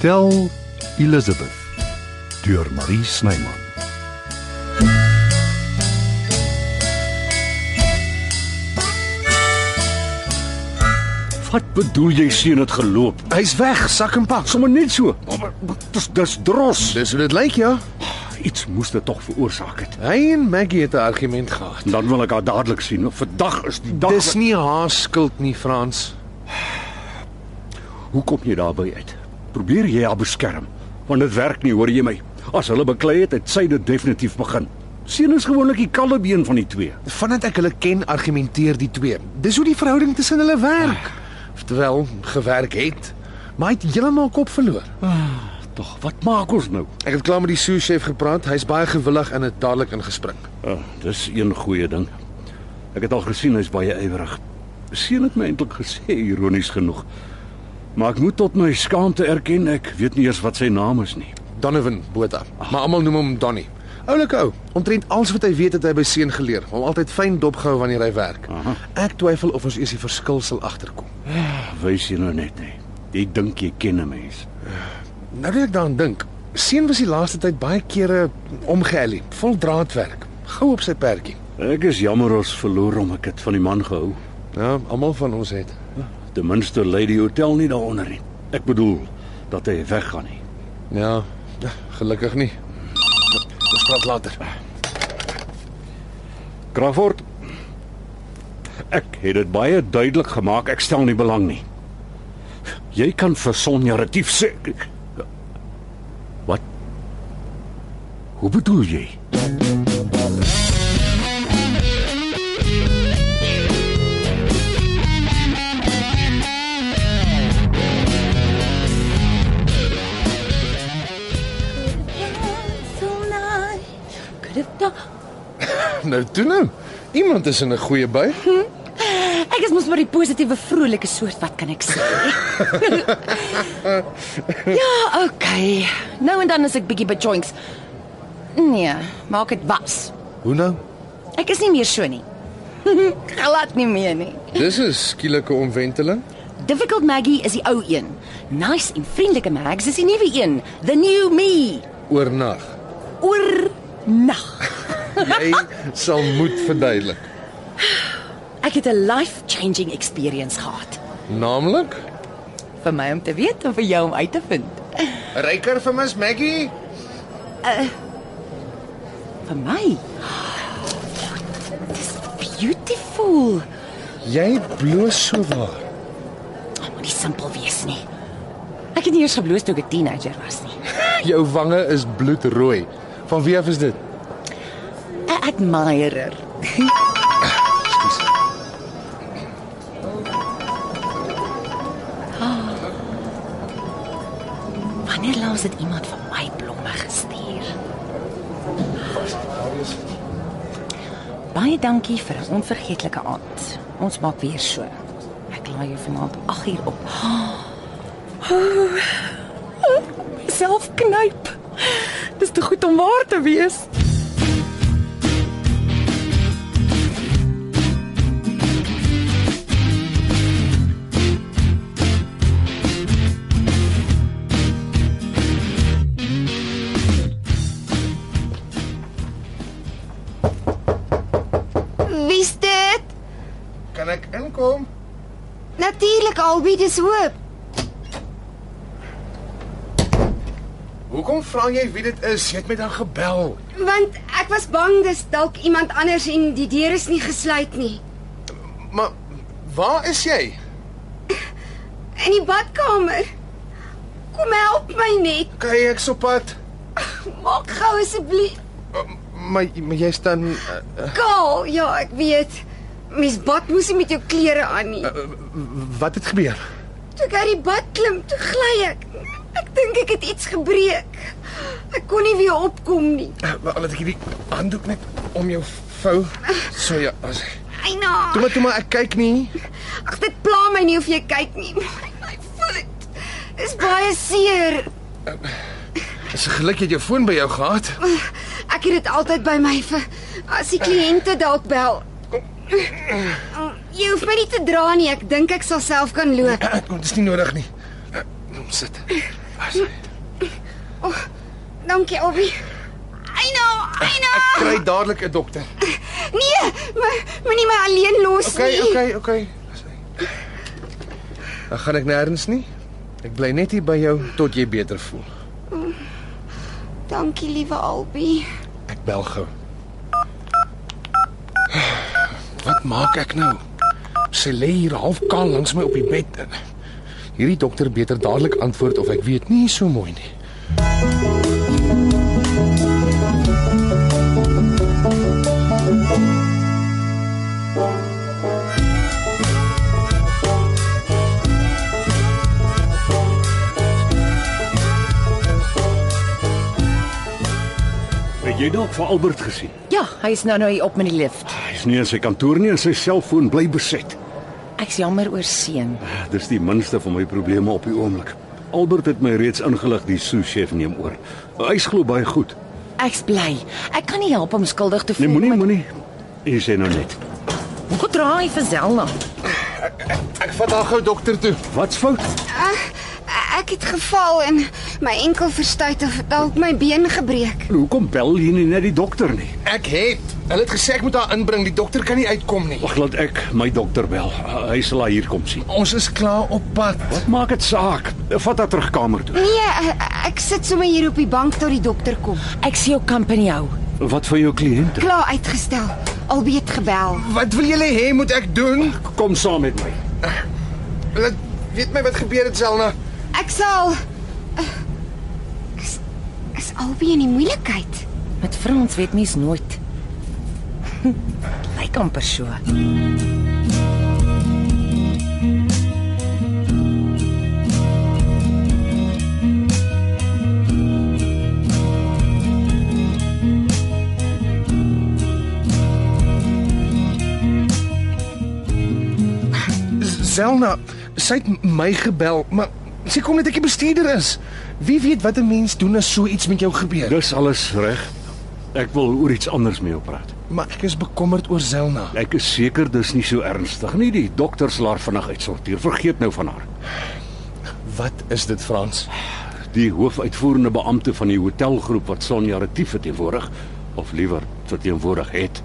Tel Elizabeth deur Marie Snyman. Wat bedoel jy sien dit geloop? Hy's weg, sak en pak. Sommige net so. Oh, Maar Dis dis dros. Dis hoe dit lyk ja. Iets moes dit tog veroorsaak het. Hy en Maggie het 'n argument gehad. En dan wil ek haar dadelik sien. want Vandag is die dag. Dis nie haar skuld nie, Frans. Hoe kom jy daarby uit? Probeer jy haar beskerm? Want dit werk nie, hoor jy my? As hulle beklei het, het sy dit definitief begin. Seun is gewoonlik die kalme een van die twee. Vandat ek hulle ken, argumenteer die twee. Dis hoe die verhouding tussen hulle werk. Terwyl gewerk het, maar hy het heeltemal kop verloor. Tog, wat maak ons nou? Ek het klaar met die sous-chef gepraat. Hy's baie gewillig en het dadelik ingespring. Uh, dis een goeie ding. Ek het al gesien hy's baie ywerig. Seun het my eintlik gesê ironies genoeg. Maar ek moet tot my skaamte erken ek weet nie eers wat sy naam is nie. Donovan Botha, maar almal noem hom Donnie. Oulike ou, omtrent alles wat hy weet het hy by seun geleer. Hom altyd fyn dopgehou wanneer hy werk. Aha. Ek twyfel of ons eers die verskil sal agterkom. Wys jy nou net nie. Jy dink jy ken 'n mens. Nou dat ek daaraan dink, seun was die laaste tyd baie kere omgehellie, vol draadwerk, gou op sy perdjie. Ek is jammer ons verloor hom ek het van die man gehou. Ja, almal van ons het. Ten minste lê die hotel nie daaronder nie. Ek bedoel dat hy weggaan nie. Ja, gelukkig nie. Ons praat later. Crawford Ek het dit baie duidelik gemaak. Ek stel nie belang nie. Jy kan vir Sonja retief sê Wat? Hoe bedoel jy? dance all night. Could have done. Nou toe nou. Iemand is in 'n goeie by. Ek is mos maar die positiewe vrolike soort wat kan ek sê? ja, okay. Nou en dan is ek bietjie bejoinks. Nee, maak dit was. Hoe nou? Ek is nie meer so nie. Glad nie meer nie. Dis 'n skielike omwenteling. Difficult Maggie is die ou een. Nice en vriendelike Mags is die nuwe een. The new me. Oornag. Oornag. Jy sal moet verduidelik. Ek het 'n life-changing experience gehad. Naamlik? Vir my om te weet en vir jou om uit te vind. Ryker vir Miss Maggie? Vir my. Dis beautiful. Jy bloos so waar. Dit moet nie simpel wees nie. Ek het nie eers gebloos toe ek 'n teenager was nie. Jou wange is bloedrooi. Van wie af is dit? 'n Admirer. Ah. Wanneer laas het iemand vir my blomme gestuur? Baie dankie vir 'n onvergeetlike aand. Ons maak weer so. Ek laai jou vanaand 8uur op. Self knyp. Dis te goed om waar te wees. Wie's dit? Kan ek inkom? Natuurlik Albie, dis hoop. Hoekom vra jy wie dit is? Jy het my dan gebel. Want ek was bang dis dalk iemand anders en die deur is nie gesluit nie. Maar waar is jy? In die badkamer. Kom help my net. Kyk ek so pad. Maak gou asseblief. Maar, maar jy staan uh, Kaal, ja, ek weet. Mens bad moes nie met jou klere aan nie. uh, wat het gebeur? Toe ek uit die bad klim, toe gly ek. Ek dink ek het iets gebreek. Ek kon nie weer opkom nie. Uh, Al het ek hierdie handdoek net om jou vou. So ja, as Toe Eina. maar toe maar ek kyk nie. Ag, dit pla my nie of jy kyk nie. My voet is baie seer. Dis 'n geluk jy het jou foon by jou gehad. Ek het dit altyd by my vir as die kliënte dalk bel. Jy hoef my Eh, nie te dra nie. Ek dink ek sal self kan loop. Dit is nie nodig nie. Eh, Kom sit. Was hy? Dankie, Obi. Eina, Eina. Kry dadelik 'n dokter. Nee, my- moenie my alleen los Okay, nie. okay, okay. Was hy? Dan gaan ek nêrens nie. Ek bly net hier by jou tot jy beter voel. Dankie, liewe Albie. Ek bel gou. Wat maak ek nou? Sy lê hier half kaal langs my op die bed. Hierdie dokter beter dadelik antwoord of ek weet nie so mooi nie. Het jy dalk vir Albert gesien? Ja, hy is nou nou hier op met die lift. Hy's Ah, nie in sy kantoor nie en sy selfoon bly beset. Ek's jammer oor seun. Ah, Dis die minste van my probleme op die oomblik. Albert het my reeds ingelig die sous-chef neem oor. Hy's glo baie goed. Ek's bly. Ek kan nie help om skuldig te voel Nee, moenie moenie. Jy sê nou net. Hoe draai vir Zelna? Ek vat haar gou dokter toe. Wat's fout? Ek het geval en my enkel verstuit of dalk my been gebreek. En Hoekom bel jy nie net die dokter nie? Ek het. Hulle het gesê ek moet haar inbring. Die dokter kan nie uitkom nie. Wag, laat ek my dokter bel. Hy sal haar hier kom sien. Ons is klaar op pad. Wat maak dit saak? Vat haar terug kamer toe. Nee, e- ek sit sommer hier op die bank tot die dokter kom. Ek sien jou company hou. Wat van jou kliënt? Klaar uitgestel. Albie het gebel. Wat wil julle hê moet ek doen? Kom saam met my. Laat weet my wat gebeur het Selna. Ek sal eh, Is, is Albie in die moeilikheid? Met Frans weet mens nooit. Lyk amper so. Selna, sy het my gebel, maar sy kom net ek die bestuurder is. Wie weet wat 'n mens doen as so iets met jou gebeur? Dis alles reg. Ek wil oor iets anders met jou praat. Maar ek is bekommerd oor Zelna. Ek is seker dis nie so ernstig nie. Die dokter sal haar vinnig uitsorteer. Vergeet nou van haar. Wat is dit, Frans? Die hoofuitvoerende beampte van die hotelgroep wat Sonja Retief verteenwoordig of liewer verteenwoordig het,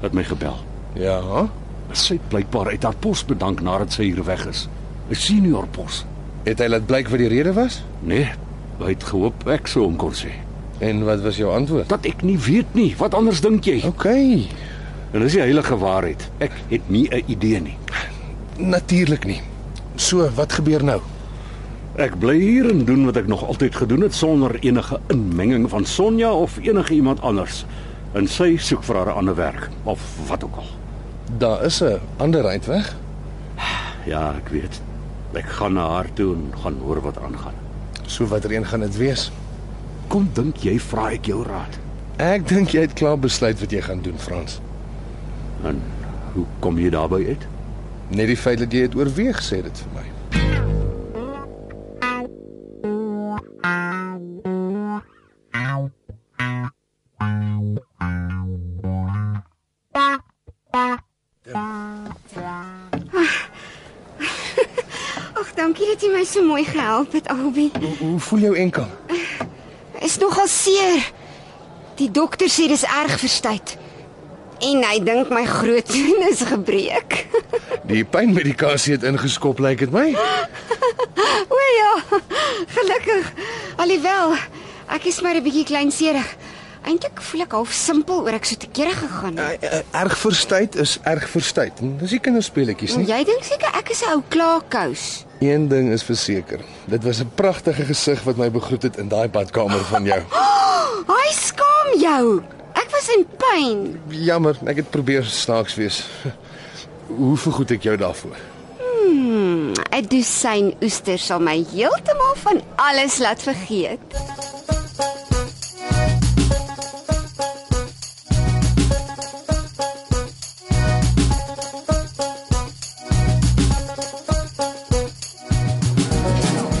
het my gebel. Ja. Sy het blykbaar uit haar pos bedank nadat sy hier weg is. 'n Senior pos. Het hy laat blyk wat die rede was? Nee, hy het gehoop ek sou hom kon sê. En wat was jou antwoord? Dat ek nie weet nie. Wat anders dink jy? OK. En dis die heilige waarheid. Ek het nie 'n idee nie. Natuurlik nie. So, wat gebeur nou? Ek bly hier en doen wat ek nog altyd gedoen het sonder enige inmenging van Sonja of enige iemand anders. En sy soek vir haar 'n ander werk of wat ook al. Daar is 'n ander uitweg. Ja, ek weet. Ek gaan na haar toe en gaan hoor wat aangaan. So watter een gaan dit wees? Kom dink jy vra ek jou raad. Ek dink jy het klaar besluit wat jy gaan doen, Frans. En hoe kom jy daarby uit? Net die feit dat jy dit oorweeg sê dit vir my. Ag, dankie dat jy my so mooi gehelp het, Albie. Hoe voel jou enkel? Is nogal seer. Die dokter sê dis erg verstuit. En hy dink my groot been is gebreek. Die pynmedikasie het ingeskop, lyk dit my. O ja, gelukkig. Alhoewel, ek is maar 'n bietjie kleinseerig. Eintlik voel ek half simpel oor ek so te kere gegaan het. eh, Erg verstuit is erg verstuit. Dis nie kinderspeletjies nie. Jy dink seker ek is 'n ou klaarkous. Een ding is verseker. Dit was 'n pragtige gesig wat my begroet het in daai badkamer van jou. Hy skaam jou. Ek was in pyn. Jammer, ek het probeer snaaks wees. Hoe vergoed ek jou daarvoor? 'n Dosyn oester sal my heeltemal van alles laat vergeet.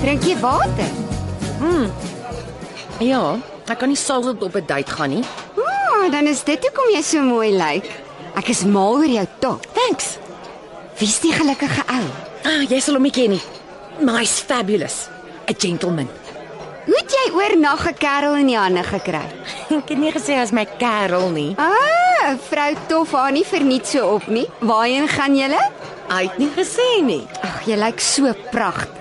Drink jy water? Ja, ek kan nie saam op 'n date gaan nie. Ah, dan is dit hoekom jy so mooi lyk. Ek is mal oor jou top. Thanks. Wie's die gelukkige ou? Ah, jy sal hom nie ken nie. Maar hy's fabulous. 'n Gentleman. oornag 'n kerel in die hande gekry. Ek het nie gesê as my kerel nie. Ah, vrou Tof haar nie verniet so op nie. Waarheen gaan julle? Hy het nie gesê nie. Ag, jy lyk so pragtig.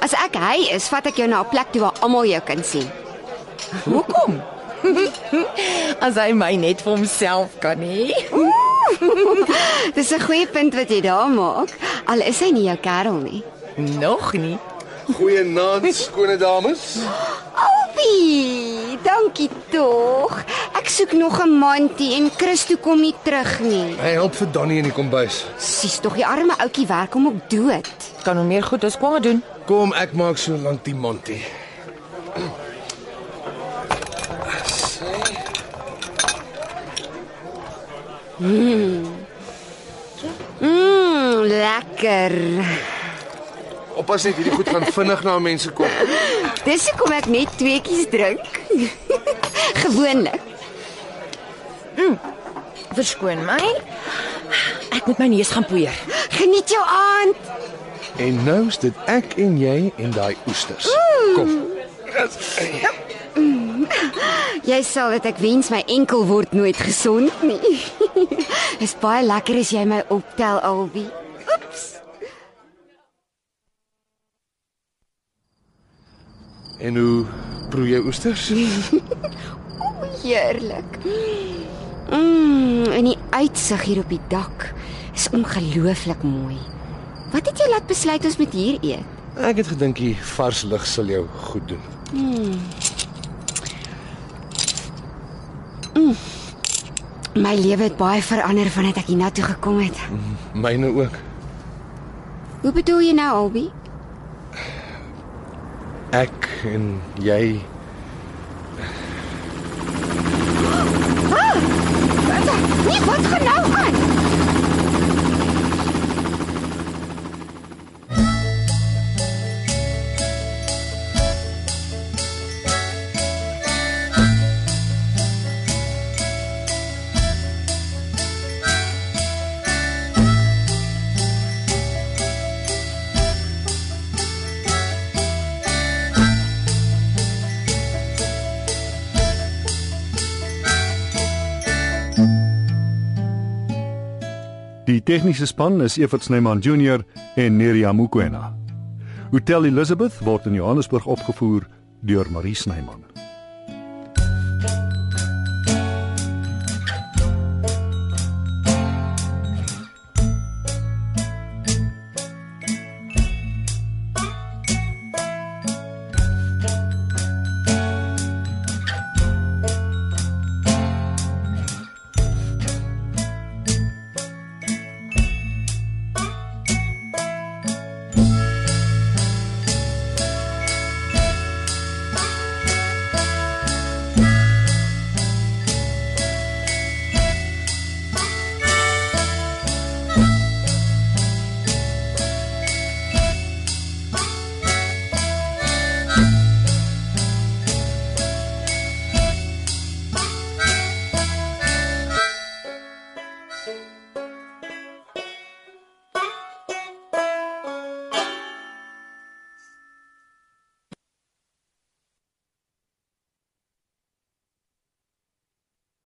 As ek hy is, vat ek jou na 'n plek toe waar almal jou kan sien. Hoekom? as hy my net vir homself kan hê. Dis 'n goeie punt wat jy daar maak. Al is hy nie jou kerel nie. Nog nie. Goeienaand, skone dames. Albie, dankie tog. Ek soek nog 'n mandie en Christo kom nie terug nie. Hy help vir Donnie in die kombuis. Sies tog, die arme ouetjie werk hom op dood. Kan hom meer goed as kwaad doen. Kom, ek maak so lank die Monty. Mmm, lekker. Oppas net hierdie goed gaan vinnig na mense kom. Dis hoekom ek net tweeetjies drink. Gewoonlik. Verskoon my. Ek moet my neus gaan poeier. Geniet jou aand. En nou is dit ek en jy en daai oesters. Kom. Jy sal dit ek wens my enkel word nooit gesond nie. Is baie lekker as jy my optel, Albie. Oeps. En hoe proe jy oesters? Heerlik. Mm, en die uitsig hier op die dak is ongelooflik mooi. Wat het jy laat besluit ons moet hier eet? Ek het gedink die vars lug sal jou goed doen. My lewe het baie verander vandat ek hiernatoe gekom het. Myne ook. Hoe bedoel jy nou, Albie? Ek en jy Nee, wat gaan nou aan? Die tegniese span is Evert Snyman Junior en Neriya Mukwena. Hotel Elizabeth word in Johannesburg opgevoer deur Marie Snyman.